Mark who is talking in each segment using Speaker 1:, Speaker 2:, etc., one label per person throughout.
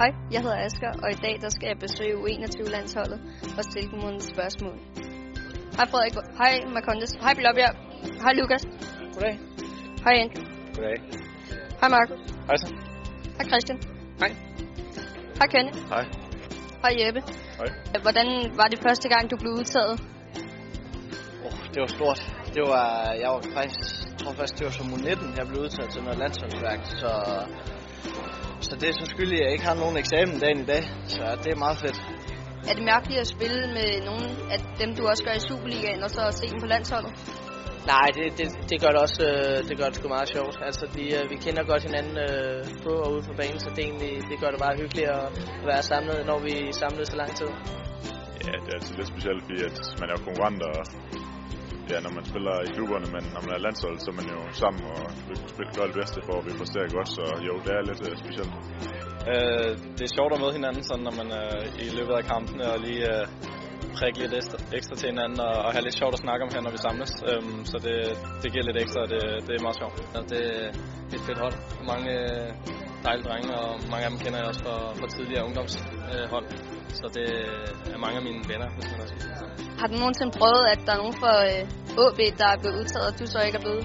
Speaker 1: Hej, jeg hedder Asger, og i dag der skal jeg besøge U21-landsholdet og stille dem nogle spørgsmål. Hej Frederik, hej Marcondes, hej Blåbjerg, hej Lukas,
Speaker 2: Goddag.
Speaker 1: hej Andrew,
Speaker 2: Goddag.
Speaker 1: hej Marco,
Speaker 2: Hej så.
Speaker 1: hej Christian.
Speaker 2: Hej.
Speaker 1: Hej Kenny,
Speaker 2: Hej.
Speaker 1: hej Jeppe.
Speaker 2: Hej.
Speaker 1: Hvordan var det første gang, du blev udtaget?
Speaker 2: Oh, det var stort. Det var, jeg var faktisk, jeg tror faktisk, det var som 19, jeg blev udtaget til noget landsholdsværk, så, så det er så skyldig, at jeg ikke har nogen eksamen dagen i dag, så det er meget fedt.
Speaker 1: Er det mærkeligt at spille med nogle af dem, du også gør i Superligaen, og så at se dem på landsholdet?
Speaker 3: Nej, det, det, det gør det også øh, det gør det sgu meget sjovt. Altså, de, øh, vi kender godt hinanden øh, på og ude for banen, så det, egentlig, det gør det meget hyggeligt at være samlet, når vi er samlet så lang tid.
Speaker 4: Ja, det er altid lidt specielt, fordi at man er jo konkurrenter, og ja, når man spiller i klubberne, men når man er landshold, så er man jo sammen og vil spille gør det bedste for at vi præsterer godt, så jo, det er lidt uh, specielt.
Speaker 5: Øh, det er sjovt at møde hinanden, sådan, når man øh, i løbet af kampene og lige øh, prikke lidt ekstra, ekstra til hinanden og, og have lidt sjovt at snakke om her, når vi samles. Øhm, så det, det giver lidt ekstra, og det, det er meget sjovt. Og det, det er et fedt hold. Mange øh, dejlige drenge, og mange af dem kender jeg også fra, fra tidligere ungdomshold. Øh, hold. så det er mange af mine venner, hvis man også kan sige det sådan.
Speaker 1: Har du nogensinde prøvet, at der er nogen fra øh, AB, der er blevet udtaget, og du så ikke er blevet?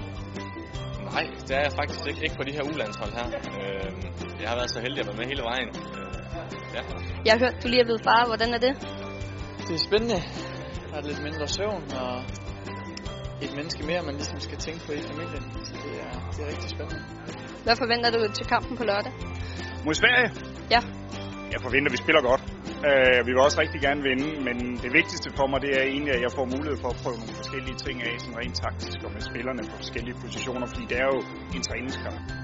Speaker 5: Nej, det er jeg faktisk ikke, ikke på de her ulandshold her. Øh, jeg har været så heldig at være med hele vejen. Øh, ja.
Speaker 1: Jeg har hørt, du lige er blevet far. Hvordan er det?
Speaker 6: Det er spændende. Der er lidt mindre søvn og et menneske mere, man ligesom skal tænke på i familien. Så det er, det er rigtig spændende.
Speaker 1: Hvad forventer du til kampen på lørdag?
Speaker 7: Mod Sverige?
Speaker 1: Ja.
Speaker 7: Jeg forventer, at vi spiller godt. Øh, vi vil også rigtig gerne vinde, men det vigtigste for mig, det er egentlig, at jeg får mulighed for at prøve nogle forskellige ting af, sådan rent taktisk og med spillerne på forskellige positioner, fordi det er jo en træningskamp.